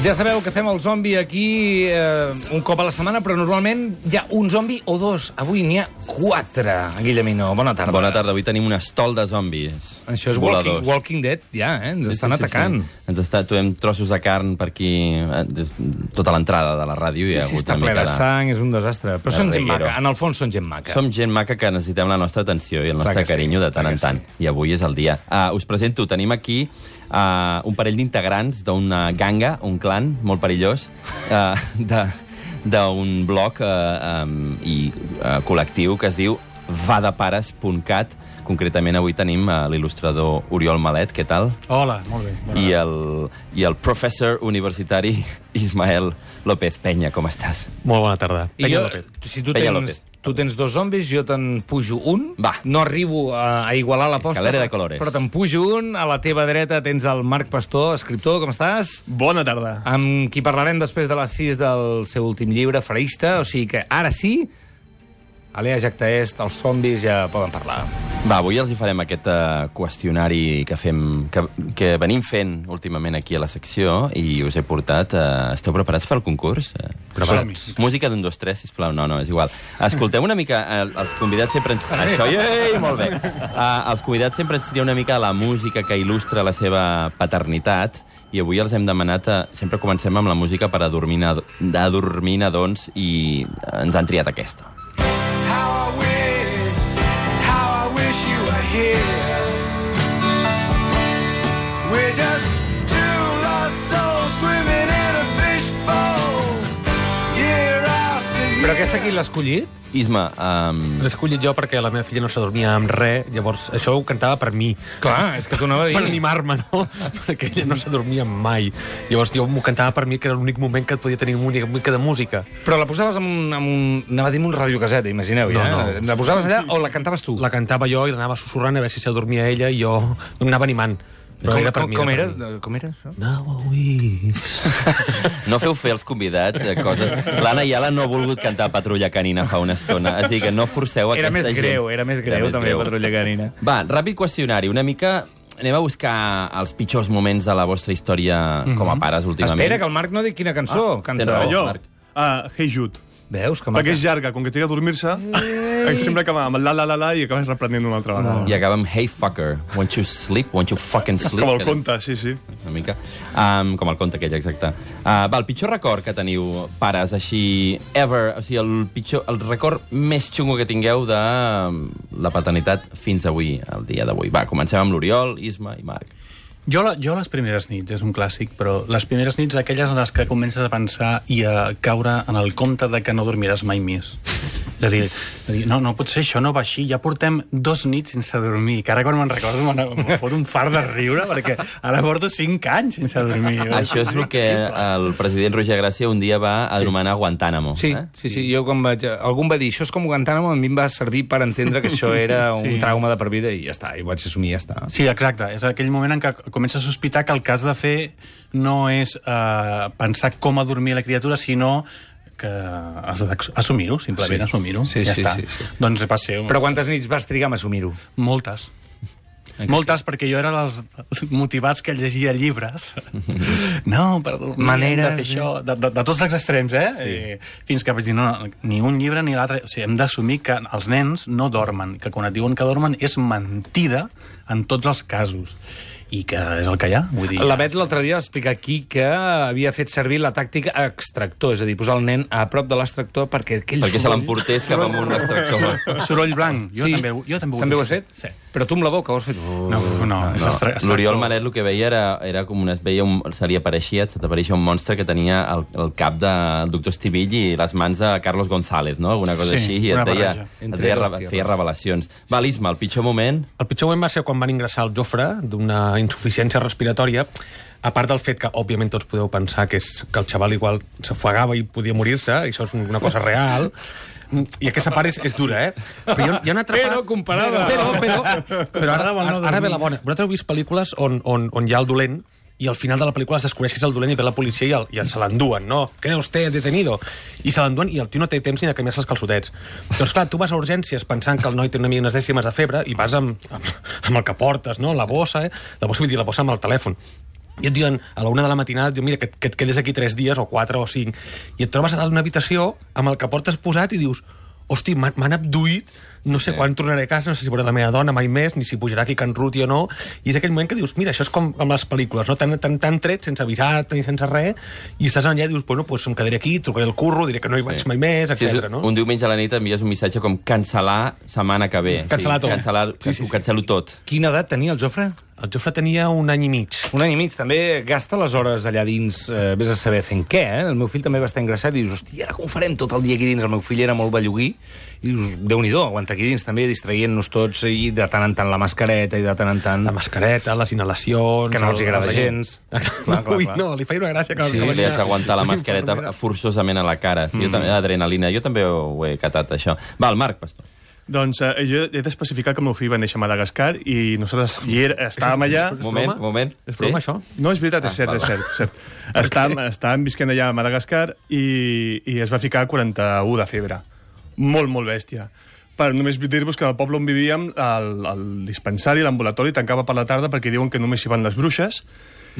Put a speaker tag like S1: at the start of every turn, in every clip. S1: Ja sabeu que fem el zombi aquí eh, un cop a la setmana, però normalment hi ha un zombi o dos. Avui n'hi ha quatre. Guillemino, bona tarda.
S2: Bona tarda, avui tenim un estol de zombis.
S1: Això és
S2: Voladors.
S1: walking, walking Dead, ja, eh? Ens
S2: Sí,
S1: sí, estan
S2: sí, sí,
S1: atacant.
S2: Sí, Ens està, trobem trossos de carn per aquí, eh, des- tota l'entrada de la ràdio.
S1: Sí,
S2: hi ha
S1: sí,
S2: hagut
S1: està
S2: una
S1: ple
S2: mica
S1: de sang, és un desastre. Però
S2: de
S1: són gent
S2: reguero.
S1: maca, en el fons són gent maca.
S2: Som gent maca que necessitem la nostra atenció i el nostre
S1: Clar que sí,
S2: carinyo de
S1: clar
S2: tant
S1: que
S2: en tant. I avui és el dia. Uh, us presento, tenim aquí uh, un parell d'integrants d'una ganga, un clan molt perillós, uh, de d'un blog uh, um, i uh, col·lectiu que es diu vadapares.cat. Concretament avui tenim uh, l'il·lustrador Oriol Malet, què tal?
S3: Hola, molt bé. Bona
S2: I el, I el professor universitari Ismael López Penya, com estàs?
S3: Molt bona tarda.
S1: I
S3: Penya
S1: jo,
S3: López.
S1: si tu
S2: Peña
S1: tens,
S2: López.
S1: tu tens dos zombis, jo te'n pujo un.
S2: Va.
S1: No arribo a, a igualar l'aposta,
S2: Escalera de colores.
S1: però te'n pujo un. A la teva dreta tens el Marc Pastor, escriptor, com estàs?
S4: Bona tarda.
S1: amb qui parlarem després de les 6 del seu últim llibre, Farista, o sigui que ara sí, Alea Jactaest, els zombis ja poden parlar.
S2: Va, avui els hi farem aquest uh, qüestionari que fem que, que venim fent últimament aquí a la secció i us he portat... Uh, esteu preparats pel concurs? Eh,
S4: Som-hi.
S2: Música d'un, dos, tres, sisplau. No, no, és igual. Escolteu una mica... eh, els convidats sempre ens... Això, ei, ei, molt bé. Uh, els convidats sempre ens tria una mica la música que il·lustra la seva paternitat i avui els hem demanat... eh, sempre comencem amb la música per adormina, adormina doncs, i ens han triat aquesta.
S5: How I wish, how I wish you were here. We're just two lost souls swimming in a fishbowl. Year after year.
S1: Però aquesta qui l'ha escollit?
S2: Isma, um,
S3: L'he escollit jo perquè la meva filla no s'adormia amb res, llavors això ho cantava per mi,
S1: Clar, és que t'ho anava a
S3: per
S1: dir.
S3: animar-me, no? Perquè ella no s'adormia mai. Llavors jo m'ho cantava per mi, que era l'únic moment que podia tenir una mica de música.
S1: Però la posaves amb un... Amb un anava a dir un radiocaseta, imagineu, ja.
S3: No,
S1: La posaves allà o la cantaves tu?
S3: La cantava jo i l'anava sussurrant a veure si s'adormia ella i jo m'anava animant. Però
S1: com,
S3: era per
S1: com,
S3: mi.
S1: com
S3: era?
S1: era?
S3: per mi.
S1: Com era això?
S3: Now I wish.
S2: No feu fer els convidats eh, coses... L'Anna Iala no ha volgut cantar Patrulla Canina fa una estona, així que no forceu
S1: Era
S2: aquesta
S1: més
S2: gent.
S1: greu, era més greu, també, Patrulla Canina.
S2: Va, ràpid qüestionari, una mica... Anem a buscar els pitjors moments de la vostra història com a pares últimament.
S1: Mhm. Espera, que el Marc no diu quina cançó ah, canta.
S2: té raó.
S4: Allò,
S2: Marc.
S4: ah, Hey Jude.
S1: Veus, que maca.
S4: Perquè és llarga, com que té que dormir-se, sempre acaba amb el la la la la i acabes reprenent una altra vegada.
S2: I acaba amb Hey fucker, won't you sleep, won't you fucking sleep.
S4: Com el
S2: Ah, Que-
S4: conte, sí, sí.
S2: Una mica. Um, com el conte aquell, exacte. Uh, va, el pitjor record que teniu, pares, així, ever, o sigui, el, pitjor, el record més xungo que tingueu de um, la paternitat fins avui, el dia d'avui. Va, comencem amb l'Oriol, Isma i Marc.
S6: Jo, la, jo les primeres nits, és un clàssic, però les primeres nits aquelles en les que comences a pensar i a caure en el compte de que no dormiràs mai més. És a dir, és a dir no, no pot ser, això no va així, ja portem dos nits sense dormir, que ara quan me'n recordo me, n'ha- em fot un fart de riure, perquè ara porto cinc anys sense dormir.
S2: Això és el que el president Roger Gràcia un dia va anomenar Guantánamo.
S1: Sí,
S2: Eh?
S1: sí, sí, jo quan vaig... Algú em va dir, això és com Guantánamo, a mi em va servir per entendre que això era un trauma de per vida i ja està, i ho vaig assumir i ja està.
S6: Sí, exacte. És aquell moment en què comença a sospitar que el cas de fer no és eh, pensar com adormir la criatura, sinó que has d'assumir-ho, simplement
S1: Sí.
S6: assumir-ho.
S1: Sí,
S6: ja
S1: sí,
S6: està.
S1: sí, sí.
S6: Doncs va ser...
S1: Però quantes nits vas trigar a assumir-ho?
S6: Moltes. Moltes, perquè jo era dels motivats que llegia llibres. No, per dormir,
S1: Maneres,
S6: hem de fer
S1: eh?
S6: això... De, de, de tots els extrems, eh? Sí. Fins que vaig dir, no, no, ni un llibre ni l'altre... O sigui, hem d'assumir que els nens no dormen, que quan et diuen que dormen és mentida en tots els casos. i que és el que hi ha. Vull dir,
S1: La Bet l'altre dia va explicar aquí que havia fet servir la tàctica extractor, és a dir, posar el nen a prop de l'extractor perquè aquell
S2: Perquè se
S1: soroll-
S2: l'emportés cap amunt l'extractor.
S6: Soroll blanc. Jo
S1: Sí.
S6: també, ho- jo també ho,
S1: També ho has fet?
S6: Sí.
S1: Però tu amb la boca ho has fet? Uh.
S6: No, no, no, és estra-
S2: No,
S6: extractor.
S2: L'Oriol Manet el que veia era, era com una... es Veia un, se li apareixia, se t'apareixia un monstre que tenia el, el cap de el doctor Estivill i les mans de Carlos González, no? Alguna cosa
S6: Sí,
S2: així. I et
S6: una
S2: deia,
S6: barreja.
S2: et
S1: Entre
S2: deia,
S1: dos
S2: re-
S1: tierras.
S2: feia revelacions. Va, l'Isma, el pitjor moment...
S3: El pitjor moment va ser quan van ingressar el Jofre d'una insuficiència respiratòria, a part del fet que, òbviament, tots podeu pensar que, és, que el xaval igual s'ofegava i podia morir-se, i això és una cosa real, i aquesta part és, és dura, eh? Però hi ha, hi ha una altra
S1: Però
S3: part...
S1: comparada.
S3: Però, però, però ara, ara, ara ve la bona. Vosaltres heu vist pel·lícules on, on, on hi ha el dolent i al final de la pel·lícula es descobreix que és el dolent i ve la policia i, el, i el se l'enduen, no? ¿Cree usted detenido? I se l'enduen i el tio no té temps ni de canviar-se els calçotets. Doncs clar, tu vas a urgències pensant que el noi té una mica unes dècimes de febre i vas amb, amb, amb el que portes, no? La bossa, eh? La bossa vull dir la bossa amb el telèfon. I et diuen a la una de la matinada, et diuen, mira, que, et- que et quedes aquí tres dies o quatre o cinc. I et trobes a dalt d'una habitació amb el que portes posat i dius, hosti, m'han m'han abduït, no sé quan tornaré a casa, no sé si veuré la meva dona mai més, ni si pujarà aquí a Can Ruti o no, i és aquell moment que dius, mira, això és com amb les pel·lícules, no? Tan, tan, tan tret, sense avisar-te ni sense res, i estàs allà i dius, bueno, doncs em quedaré aquí, trucaré el curro, diré que no hi vaig mai més,
S2: Sí, és
S3: etc. no?
S2: Un diumenge a la nit envies un missatge com cancelar setmana que ve.
S3: Mm, Cancel·lar tot.
S2: Cancelar, sí, sí, sí. Cancelo tot.
S1: Quina edat tenia el Jofre?
S3: El Jofre tenia un any i mig.
S1: Un any i mig. També gasta les hores allà dins, eh, vés a saber fent què, eh? El meu fill també va estar ingressat i dius, hòstia, ara com farem tot el dia aquí dins? El meu fill era molt bellugui i dius, déu-n'hi-do, aguanta aquí dins també, distraient-nos tots i de tant en tant la mascareta i de tant en tant...
S3: La mascareta, les inhalacions...
S1: Que no els agrada gens. Clar, clar,
S3: Ui,
S1: clar.
S3: no, li feia una gràcia. Que
S2: Sí,
S3: que
S2: li has
S3: venia-
S2: d'aguantar la
S3: Mm.
S2: mascareta forçosament a la cara. Sí,
S6: Mm.
S2: jo també, adrenalina. Jo també ho he catat, això. Va, el Marc, pastor.
S4: Doncs eh, jo he d'especificar que el meu fill va néixer a Madagascar i nosaltres hi era, estàvem allà...
S2: Moment,
S3: broma?
S2: moment.
S3: És broma, això?
S4: No, és veritat, és cert, és cert. és cert. Estàvem, estàvem visquent allà a Madagascar i, i es va ficar a 41 de febre. Molt, molt bèstia. Per només dir-vos que en el poble on vivíem, el, el dispensari, l'ambulatori, tancava per la tarda perquè diuen que només hi van les bruixes.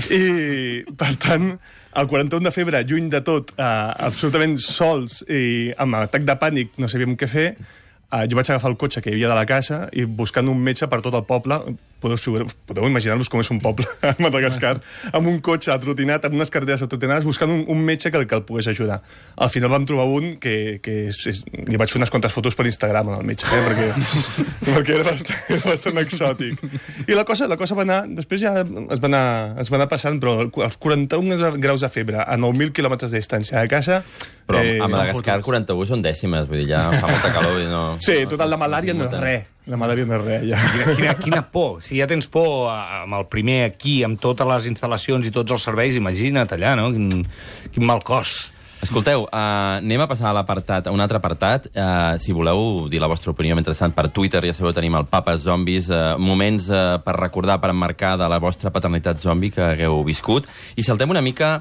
S4: I, per tant, el 41 de febre, lluny de tot, eh, absolutament sols i amb atac de pànic, no sabíem què fer, eh, jo vaig agafar el cotxe que hi havia de la casa i buscant un metge per tot el poble, podeu, figurar- podeu imaginar-vos com és un poble a Madagascar, amb un cotxe atrotinat, amb unes carreteres atrotinades, buscant un, un metge que, el- que el pogués ajudar. Al final vam trobar un que, que és, és, li vaig fer unes quantes fotos per Instagram al metge, eh? perquè, perquè era bastant, era bastant exòtic. I la cosa, la cosa va anar, després ja es va anar, es va anar passant, però els 41 graus de febre a 9.000 quilòmetres de distància de casa... eh,
S2: Però a Madagascar 41 són dècimes, vull dir, ja fa molta calor. vull dir, No,
S4: Sí,
S2: no,
S4: total, la malària no és res. La malària no és res, ja.
S1: Quina, quina, quina por. Si ja tens por a- amb el primer aquí, amb totes les instal·lacions i tots els serveis, imagina't allà, no? Quin, quin mal cos.
S2: Escolteu, uh, anem a passar a l'apartat, a un altre apartat. Uh, si voleu dir la vostra opinió mentrestant per Twitter, ja sabeu, tenim el Papa Zombis, uh, moments uh, per recordar, per emmarcar de la vostra paternitat zombi que hagueu viscut. I saltem una mica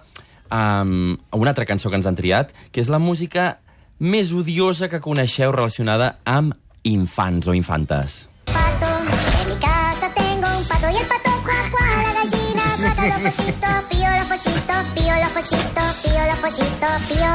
S2: um, a una altra cançó que ens han triat, que és la música més odiosa que coneixeu relacionada amb infants o infantes.
S7: pato. En mi casa tengo un pato y el pato cuá cuá. La gallina cuaca los pollitos, pío los pollitos, pío los pollitos, pío los pollitos, pío.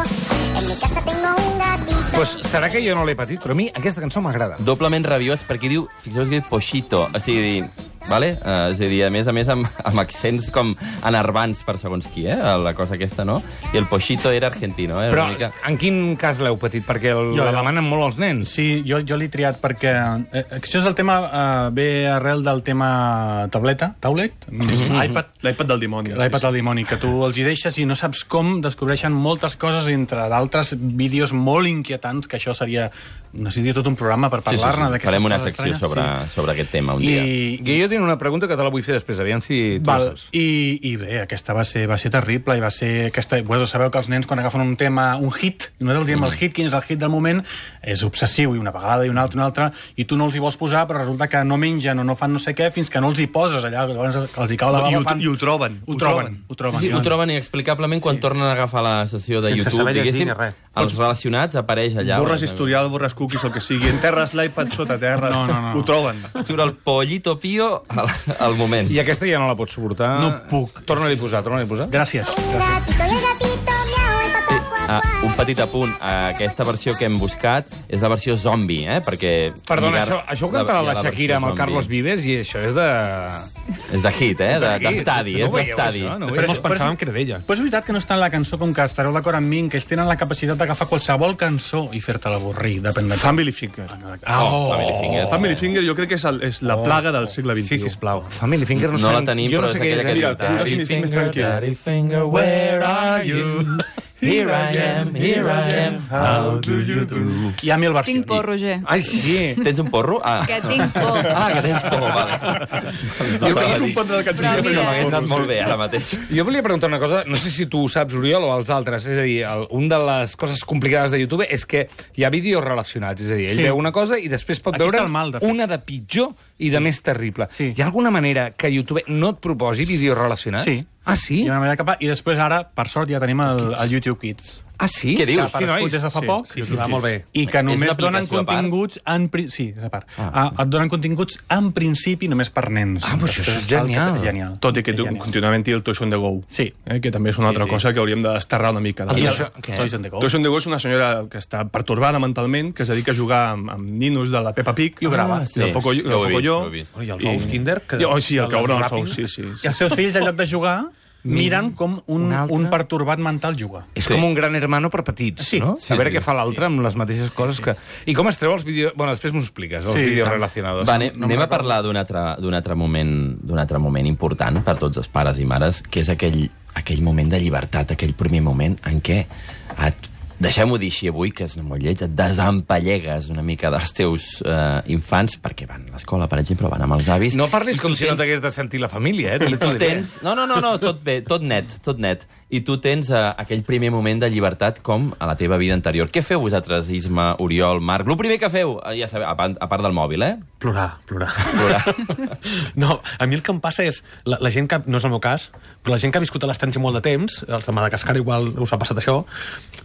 S7: En mi casa tengo un gatito.
S1: Pues Doncs serà que jo no l'he patit, però a mi aquesta cançó m'agrada.
S2: doblement rabiós perquè diu, fixeu-vos que diu pochito, o sigui, dir, vale? Uh, és a dir, a més a més amb, amb accents com enervants per segons qui, eh? La cosa aquesta, no? I el pochito era argentino, eh?
S1: Però
S2: Una mica...
S1: en quin cas l'heu patit? Perquè el,
S6: Jo,
S1: la
S6: jo.
S1: demanen molt els nens.
S6: Sí, jo, jo l'he triat perquè... Eh, això és el tema... Eh, ve arrel del tema tableta, taulet, sí. iPad,
S4: L'iPad del dimoni.
S6: l'iPad al dimoni, que tu els hi deixes i no saps com descobreixen moltes coses, entre d'altres vídeos molt inquietants, que això seria... Necessitaria tot un programa per parlar-ne d'aquestes
S2: Farem una
S6: coses
S2: secció
S6: estranyes,
S2: sobre, sí. sobre aquest tema un
S6: I,
S2: dia.
S1: I jo tinc una pregunta que te la vull fer després, aviam si tu la
S6: Val,
S1: saps.
S6: i, i bé, aquesta va ser, va ser terrible i va ser aquesta... Bueno, sabeu que els nens quan agafen un tema, un hit, i nosaltres diem el hit, quin és el hit del moment, és obsessiu i una vegada i una altra i una altra, i tu no els hi vols posar però resulta que no mengen o no fan no sé què fins que no els hi poses allà, llavors els hi cau la
S4: I
S6: bava,
S4: ho-
S6: fan...
S4: i ho troben,
S6: Ho
S4: ho
S6: troben,
S4: troben.
S6: ho troben.
S2: Sí, sí, ho troben inexplicablement quan sí. tornen a agafar la sessió de
S3: Sense
S2: YouTube,
S3: saber llegir
S2: diguéssim,
S3: ni res.
S2: els relacionats apareix allà.
S4: Borres historial, borres cookies, el que sigui. Enterres l'iPad sota terra.
S6: No, no, no.
S4: Ho troben.
S2: Surt el pollito pío al, al moment.
S1: I aquesta ja no la pots suportar.
S6: No puc.
S1: Torna-li a posar, torna-li a posar.
S6: Gràcies.
S7: Un gatito y el gatito miau, el pato cuá
S2: Ah, un petit apunt. Ah, Aquesta versió que hem buscat és la versió zombi, eh? Perquè...
S1: Perdona,
S2: lligar-
S1: això, això ho cantava
S2: hi ha
S1: la,
S2: versió
S1: Shakira amb el
S2: zombi.
S1: Carlos Vives i això és de...
S2: És de hit, eh? De-
S1: hit.
S2: D'estadi,
S1: No
S2: és
S1: ho veieu,
S2: d'estadi.
S1: això? No ho
S3: Però
S1: veieu?
S3: ens pensàvem que era d'ella.
S6: Però és veritat que no està en la cançó com que estareu d'acord amb mi en que ells tenen la capacitat d'agafar qualsevol cançó i fer-te l'avorrir, depèn de...
S4: Family Finger.
S6: Ah,
S2: Oh,
S6: oh,
S2: Family Finger.
S4: Family Finger jo crec que és, el, és la plaga del segle XXI.
S1: Sí, sisplau. Family Finger no,
S2: No la
S1: sé-
S2: tenim,
S1: jo
S2: però
S1: no sé
S2: és
S1: què
S2: aquella que
S1: és.
S2: diu...
S4: Mira, tu
S2: "Daddy
S4: l'has més
S2: finger,
S4: tranquil".
S2: Daddy finger, where are you? Here I am, here I am, how do you do?
S6: I a mi el versió.
S8: Tinc por, Roger.
S1: Ai, sí.
S2: Tens un porro? Ah.
S8: Que tinc por.
S2: Ah, que tens por, vale.
S4: Jo crec que compondre la cançó
S8: Però
S4: sempre
S8: mira.
S4: és
S2: M'hagués
S4: el
S2: anat
S4: porro,
S2: molt
S4: sí.
S2: bé ara mateix.
S1: Jo volia preguntar una cosa, no sé si tu ho saps, Oriol, o els altres. És a dir, el, un de les coses complicades de YouTube és que hi ha vídeos relacionats. És a dir, ell
S6: Sí.
S1: veu una cosa i després pot
S6: Aquí
S1: veure
S6: està el mal, de fet.
S1: una de pitjor i de més terrible.
S6: Sí.
S1: Hi ha alguna manera que YouTube no et proposi vídeos relacionats?
S6: Sí.
S1: Ah, sí?
S6: I, una manera cap a... I després ara, per sort, ja tenim el, el YouTube Kids.
S1: Ah, sí?
S2: Què dius?
S6: Que aparegut des de fa
S4: Sí,
S6: poc.
S4: sí, sí, va
S6: molt bé. I que
S2: És una
S6: només
S2: aplicació
S6: donen
S2: a part?
S6: continguts... En pri... Sí, és a part. Ah, et donen continguts en principi només per nens.
S1: Ah, però això
S6: Després
S1: és
S6: està el
S1: genial.
S6: que- Genial.
S4: Tot i que
S6: És
S4: tu,
S6: genial.
S4: continuament i el Toys on the Go.
S6: Sí.
S4: Eh, que també és una
S6: Sí,
S4: altra
S6: sí.
S4: cosa que hauríem de desterrar una mica.
S1: I
S6: I
S1: això-
S6: això,
S1: què?
S6: Toys and the Go.
S4: Toys on the Go és una senyora que està pertorbada mentalment, que es dedica a jugar amb, amb ninos de la Peppa Pig. Ah,
S6: I ho grava.
S4: I el Pocoyo.
S2: Ah, ho he
S4: el
S2: vist,
S4: Pocoyo.
S2: ho he vist.
S3: I els ous Kinder? Que...
S4: I- Oh, sí, el que obre els ous,
S3: wrappings?
S4: sí, sí.
S6: I
S4: sí.
S6: els seus fills, en lloc de jugar, miren com un,
S1: Un
S6: un,
S1: altre.
S6: un pertorbat mental juga.
S1: És
S2: Sí.
S1: com un gran hermano per petits,
S6: Sí,
S1: no?
S2: sí,
S1: a veure
S2: sí.
S1: què fa l'altre amb les mateixes coses que... I com es treu els vídeos... Bueno, després m'ho expliques, els
S6: Sí,
S1: vídeos
S6: tant.
S1: relacionados.
S2: Va, anem, anem a parlar d'un altre, d'un altre, moment, d'un altre moment important per tots els pares i mares, que és aquell, aquell moment de llibertat, aquell primer moment en què et deixem-ho dir així avui, que és molt lleig, et desempallegues una mica dels teus eh, infants, perquè van a l'escola, per exemple, van amb els avis...
S1: No parlis
S2: i
S1: com
S2: tu
S1: si no
S2: tens-
S1: t'hagués de sentir la família, eh?
S2: i tu
S1: t'ho diré.
S2: tens... No, no, no, no, tot bé, tot net, tot net. I tu tens eh, aquell primer moment de llibertat com a la teva vida anterior. Què feu vosaltres, Isma, Oriol, Marc? El primer que feu, eh, ja sabeu, a part, a part del mòbil, eh?
S3: Plorar, plorar.
S2: Plorar.
S3: No, a mi el que em passa és... La, la gent que... No és el meu cas, però la gent que ha viscut a l'estranger molt de temps, els de Madagascar igual us ha passat això,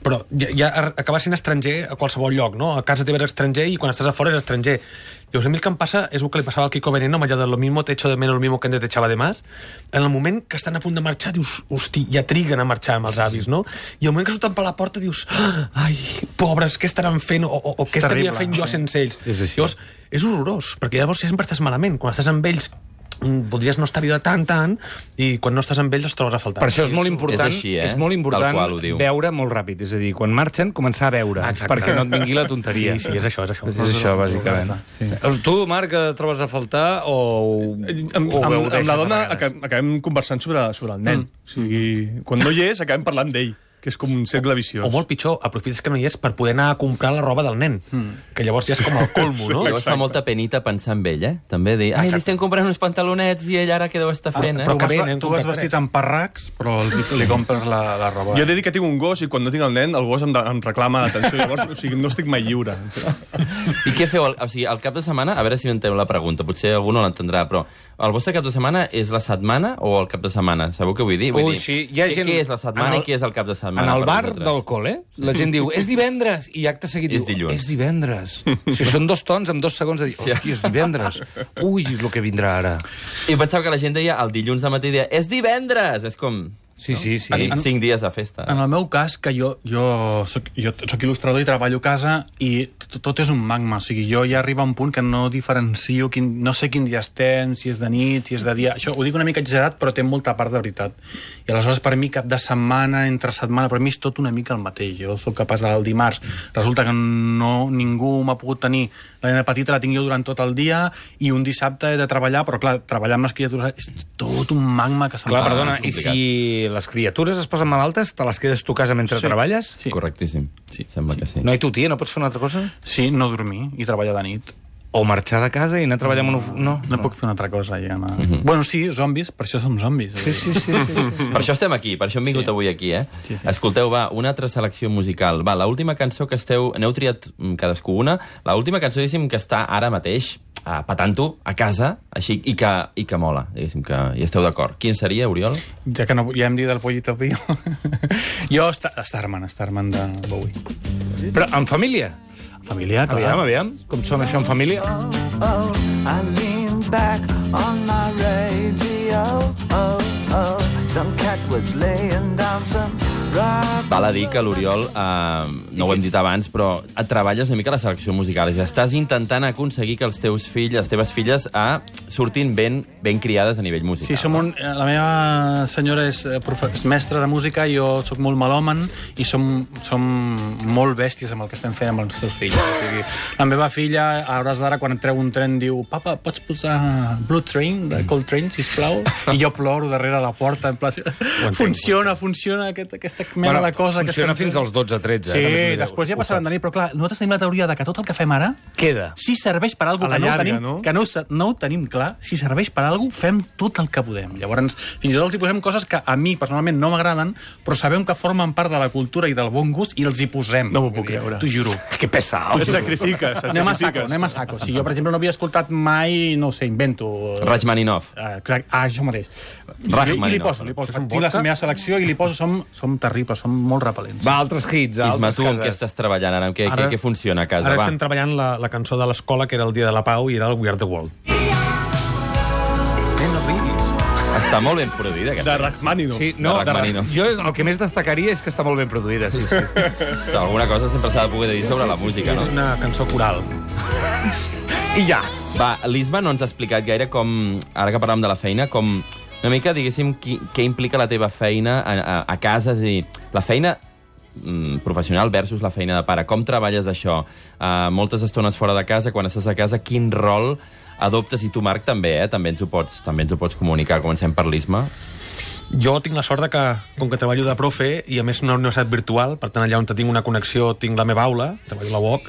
S3: però ja, ja ar- acabar sent estranger a qualsevol lloc, no? A casa teva eres estranger i quan estàs a fora és estranger. Llavors, a mi el que em passa és el que li passava al Kiko Veneno, amb allò de lo mismo te echo de menos, lo mismo que antes te echaba de más. En el moment que estan a punt de marxar, dius, hosti, ja triguen a marxar amb els avis, no? I al moment que surten per la porta, dius, "Ah, ai, pobres, què estaran fent o, o, o què estaria
S6: terrible.
S3: fent jo sense ells?
S1: És així.
S3: Llavors, és horrorós, perquè llavors sempre estàs malament. Quan estàs amb ells, mm, podries no estar-hi de tant, tant, i quan no estàs amb ells els trobes a faltar.
S1: Per això és molt important,
S2: és així, eh?
S1: és molt important
S2: Tal qual ho diu.
S1: veure molt ràpid. És a dir, quan marxen, començar a veure,
S3: Exacte.
S1: eh? perquè no et vingui la tonteria.
S3: Sí, Doncs sí, és això, és això.
S1: És això, bàsicament. Sí. Tu, Marc, et trobes a faltar o...
S4: Amb, amb,
S1: o ho
S4: amb,
S1: deixes
S4: la
S1: a
S4: dona
S1: vegades?
S4: aca- acabem conversant sobre, sobre el nen. O sigui, quan no hi és, acabem parlant d'ell, que és com un cercle viciós.
S3: O molt pitjor, aprofites que no hi és per poder anar a comprar la roba del nen, mm. que llavors ja és com el colmo,
S2: No?
S1: Oh,
S3: no?
S2: Llavors fa molta penita pensar en ell, eh? També dir, ai, li estem comprant uns pantalonets i ell ara què deu
S1: Ah,
S2: estar fent, eh?
S6: Però
S3: que
S6: tu,
S3: bé,
S6: has,
S3: n'hem
S6: tu has
S3: comprat
S6: vestit
S3: tres.
S6: amb parracs, però els, li compres la, la roba.
S4: Jo he de dir que tinc un gos i quan no tinc el nen, el gos em, de, em reclama l'atenció. Llavors, o sigui, no estic mai lliure.
S2: I què feu? al- O sigui, el cap de setmana, a veure si enteneu la pregunta, potser algú no l'entendrà, però el vostre cap de setmana és la setmana o el cap de setmana? Sabeu què vull dir? Vull
S1: Ui,
S2: dir,
S1: Oh, sí, hi ha
S2: què,
S1: gent-
S2: què és la setmana
S1: en el-
S2: i què és el cap de setmana?
S1: En el
S2: per
S1: bar
S2: vosaltres?
S1: del col·le, la gent diu, és divendres, i acte seguit
S2: És
S1: diu,
S2: dilluns.
S1: és divendres. O sigui, són dos tons amb dos segons de dir, hòstia, és divendres. Ui, el que vindrà ara.
S2: I pensava que la gent deia el dilluns al matí, deia, és divendres! És com...
S1: Sí, sí, sí.
S2: Sí, cinc dies de festa.
S6: En el meu cas, que jo, jo, soc, jo soc il·lustrador i treballo a casa i to- tot és un magma. O sigui, jo ja arriba un punt que no diferencio, quin, no sé quin dia estem, si és de nit, si és de dia... Això ho dic una mica exagerat, però té molta part de veritat. I aleshores, per mi, cap de setmana, entre setmana, per mi és tot una mica el mateix. Jo sóc capaç del dimarts. Resulta que no, ningú m'ha pogut tenir. La nena petita la tinc jo durant tot el dia i un dissabte he de treballar, però clar, treballar amb les criatures és tot un magma que se'm
S1: Clar,
S6: fa.
S1: perdona,
S2: és
S1: i
S2: complicat.
S1: si les criatures es posen malaltes, te les quedes tu a casa mentre
S6: Sí.
S1: treballes?
S6: Sí.
S2: Correctíssim. Sí. Sembla que sí.
S1: No, i tu, tia, no pots fer una altra cosa?
S6: Sí, no dormir i treballar de nit.
S1: O marxar de casa i anar a treballar amb un... of- No,
S6: No, puc fer una altra cosa, ja. No. Mm -hmm. Bueno, sí, zombis, per això som zombis.
S1: Sí, sí, sí, sí, sí.
S2: Per això estem aquí, per això hem vingut sí. avui aquí, eh? Sí,
S6: Sí,
S2: sí.
S6: sí.
S2: Escolteu, va, una altra selecció musical. Va, l'última cançó que esteu... N'heu triat mm, cadascú una. L'última cançó, diguéssim, que està ara mateix a petant-ho a casa, així, i que, i que mola, diguéssim, que hi esteu d'acord. Quin seria, Oriol?
S6: Ja que no, ja hem dit del pollito pío. jo, Sta- Starman, Starman de Bowie.
S1: Però en família?
S6: Familiar, clar.
S1: Aviam, aviam, com sona això en família?
S5: Oh, I lean back on my radio. Oh, oh, some cat was laying down some rock.
S2: Val a dir que l'Oriol, eh, no ho hem dit abans, però et treballes una mica a la selecció musical. Ja estàs intentant aconseguir que els teus fills, les teves filles, eh, surtin ben, ben criades a nivell musical.
S6: Sí, som un, eh, la meva senyora és, eh, profe, és mestra de música, jo sóc molt malòman i som, som molt bèsties amb el que estem fent amb els teus fills. O sigui, la meva filla, a hores d'ara, quan treu un tren, diu «Papa, pots posar Blue Train,
S1: Mm.
S6: de Cold Train, sisplau?» I jo ploro darrere la porta, en pla... Funciona, funciona aquest, aquesta mena de cosa. que
S1: funciona
S6: estem
S1: fins
S6: fent."
S1: als 12-13.
S6: Sí,
S1: eh? També t'ho diré.
S6: després ja
S1: Ho
S6: passaran de
S1: saps.
S6: nit, però clar, nosaltres tenim la teoria de que tot el que fem ara
S1: Queda.
S6: si serveix per
S4: A
S6: alguna
S4: la
S6: cosa que, no ho
S4: llarga,
S6: tenim,
S4: no?
S6: que no, ho sa- no ho tenim clar, si serveix per alguna cosa, fem tot el que podem. Llavors, fins i tot els hi posem coses que a mi personalment no m'agraden, però sabem que formen part de la cultura i del bon gust i els hi posem.
S4: No m'ho puc creure.
S6: T'ho juro.
S1: Que pesat.
S4: Et sacrifiques, et
S6: Anem a saco,
S4: sacrifiques.
S6: anem a saco. Si jo, per exemple, no havia escoltat mai, no ho sé, invento... eh,
S2: Rachmaninoff.
S6: Ah, Exacte, ah, això mateix. I,
S2: Rachmaninoff.
S6: I li poso, li poso. Tinc la meva selecció i li poso, som, som terribles, som molt repel·lents.
S1: Va, altres hits, a
S2: Isma,
S1: altres
S2: tu en què
S1: cases.
S2: estàs treballant ara? En què,
S3: Ara-
S2: què, què funciona a casa?
S3: Ara
S2: Va.
S3: estem treballant la, la cançó de l'escola, que era el Dia de la Pau, i era el We Are the World.
S2: Està molt ben produïda, aquesta.
S4: De Rachmaninoff.
S1: Sí, no,
S2: de
S1: de
S2: Rachmaninoff.
S1: jo el que més destacaria és que està molt ben produïda, sí, sí.
S2: Alguna cosa sempre s'ha de poder dir sobre la música, no?
S3: És una cançó coral.
S1: I ja.
S2: Va, l'Isma no ens ha explicat gaire com, ara que parlàvem de la feina, com una mica, diguéssim, qui, què implica la teva feina a, a, a casa, és a dir, la feina mm, professional versus la feina de pare. Com treballes això? Uh, moltes estones fora de casa, quan estàs a casa, quin rol adoptes? I tu, Marc, també, eh? També ens ho pots, també ens ho pots comunicar. Comencem per l'Isma.
S3: Jo tinc la sort de que, com que treballo de profe, i a més una universitat virtual, per tant allà on tinc una connexió tinc la meva aula, treballo a la UOC,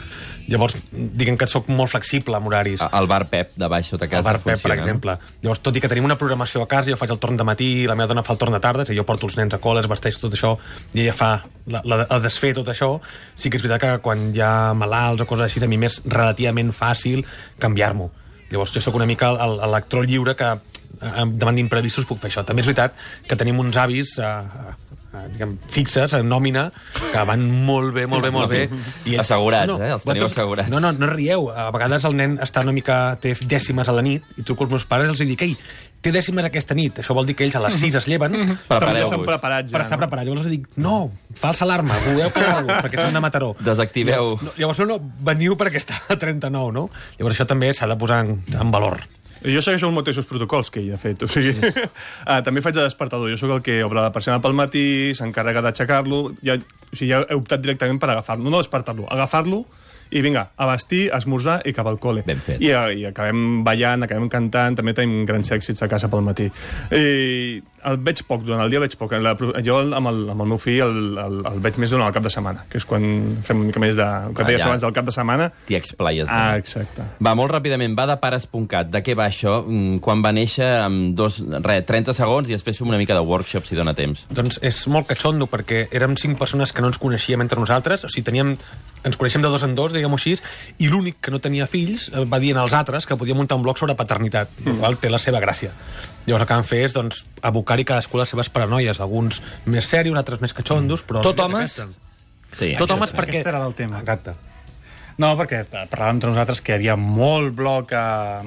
S3: llavors diguem que sóc molt flexible amb
S1: Ah,
S3: horaris.
S2: A- El bar Pep de baix sota casa
S3: el bar Pep, per
S2: funciona.
S3: exemple. Llavors, tot i que tenim una programació a casa, jo faig el torn de matí, la meva dona fa el torn de tarda, és a dir, jo porto els nens a col·les, vesteix tot això, i ella fa la, la, el desfer tot això, sí que és veritat que quan hi ha malalts o coses així, a mi m'és relativament fàcil canviar-m'ho. Llavors, jo sóc una mica el- el- l'actor lliure que eh, davant d'imprevistos puc fer això. També és veritat que tenim uns avis eh, eh, diguem, fixes, en nòmina, que van molt bé, molt bé, molt bé. ells-
S2: Assegurats, eh? Els teniu
S3: vosaltres-
S2: assegurats.
S3: No, no, no rieu. A vegades el nen està una mica... té dècimes a la nit i truco als meus pares i els dic, ei, té dècimes aquesta nit. Això vol dir que ells a les 6 es lleven
S4: Estan
S2: Prepareu-vos.
S4: preparats ja.
S3: per estar
S4: no?
S3: preparats. Llavors els dic, no, falsa alarma, voleu que no, perquè són de Mataró.
S2: Desactiveu.
S3: No, llavors, no, no, veniu perquè està a 39, no? Llavors això també s'ha de posar en, en valor.
S4: Jo segueixo els mateixos protocols que ell ha fet. O sigui, ah, també faig de despertador. Jo sóc el que obre la persiana pel matí, s'encarrega d'aixecar-lo. Ja, o sigui, ja he optat directament per agafar-lo. No despertar-lo, agafar-lo i vinga, a vestir, a esmorzar i cap al col·le.
S2: Ben fet.
S4: I, a- I acabem ballant, acabem cantant, també tenim grans èxits a casa pel matí. I el veig poc, durant el dia veig poc. La, jo amb el, amb el meu fill el, el, el veig més durant el cap de setmana, que és quan fem una mica més de... El que
S2: Ah,
S4: deies
S2: ja.
S4: abans del cap de setmana.
S2: T'hi explayes. no?
S4: Ah, exacte.
S2: Va, molt ràpidament, va de pares.cat. De què va això? Mm, Quan va néixer, amb dos, re, 30 segons, i després fem una mica de workshop, si dóna temps.
S3: Doncs és molt catxondo, perquè érem cinc persones que no ens coneixíem entre nosaltres, o sigui, teníem, ens coneixem de dos en dos, diguem-ho així, i l'únic que no tenia fills eh, va dir als altres que podia muntar un blog sobre paternitat, mm. el qual té la seva gràcia. Llavors el que van fer és doncs, abocar-hi cadascú les seves paranoies, alguns més serios, altres més catxondos, però...
S1: Tot
S3: la idea
S1: homes?
S3: és aquesta.
S2: Sí,
S3: Tot homes
S2: sí.
S3: perquè...
S6: Aquest era el tema.
S3: Exacte.
S6: No, perquè parlàvem entre nosaltres que hi havia molt bloc eh,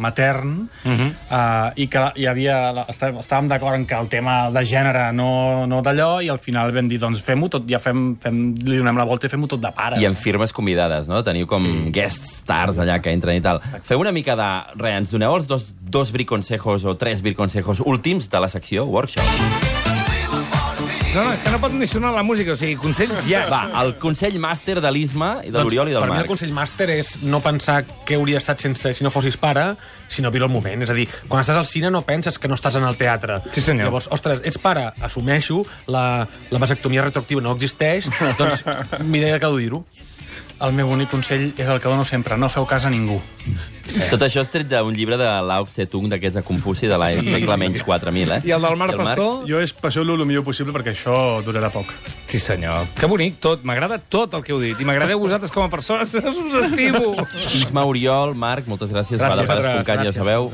S6: matern uh -huh. eh, i que hi havia, la- estàvem estàvem d'acord en que el tema de gènere no, no d'allò i al final vam dir, doncs fem-ho tot, ja fem, fem, li donem la volta i fem-ho tot de pare.
S2: I amb firmes convidades, no? Teniu com sí. guest stars allà que entren i tal. Feu una mica de... Re, ens doneu els dos, dos briconsejos o tres briconsejos últims de la secció workshop.
S1: No, no, és que no pot ni sonar la música, o sigui, consells ja.
S2: Va, el consell màster de l'Isma, i de l'Oriol i del
S3: per mi el
S2: Marc.
S3: consell màster és no pensar què hauria estat sense, si no fossis pare, sinó viure el moment. És a dir, quan estàs al cine no penses que no estàs en el teatre.
S1: Sí, senyor.
S3: Llavors, ostres, ets pare, assumeixo, la, la vasectomia retroactiva no existeix, doncs m'he que dir-ho.
S6: El meu únic consell és el que dono sempre, no feu cas a ningú.
S2: Tot això és tret d'un llibre de Lao Tse Tung, d'aquests de Confuci, de l'any sí. menys 4.000, eh?
S1: I el del Marc Pastor?
S4: Jo és passeu-lo el millor possible perquè això durarà poc.
S1: Sí, senyor. Que bonic tot, m'agrada tot el que heu dit. I m'agradeu vosaltres com a persones, us estimo.
S2: Isma, Oriol, Marc, moltes gràcies.
S1: Gràcies,
S2: va, de pares,
S1: vosaltres.
S2: Concat, ja
S1: Gràcies,
S2: sabeu.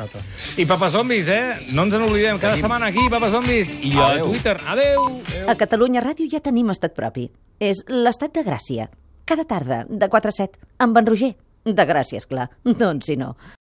S1: I Papa Zombis, eh? No ens en oblidem. Cada setmana aquí, Papa Zombis. I a
S2: Adeu.
S1: Twitter. Adeu.
S9: A Catalunya Ràdio ja tenim estat propi. És l'estat de Gràcia. Cada tarda, de 4 a 7, amb en Roger. De Gràcia, esclar. Doncs si no.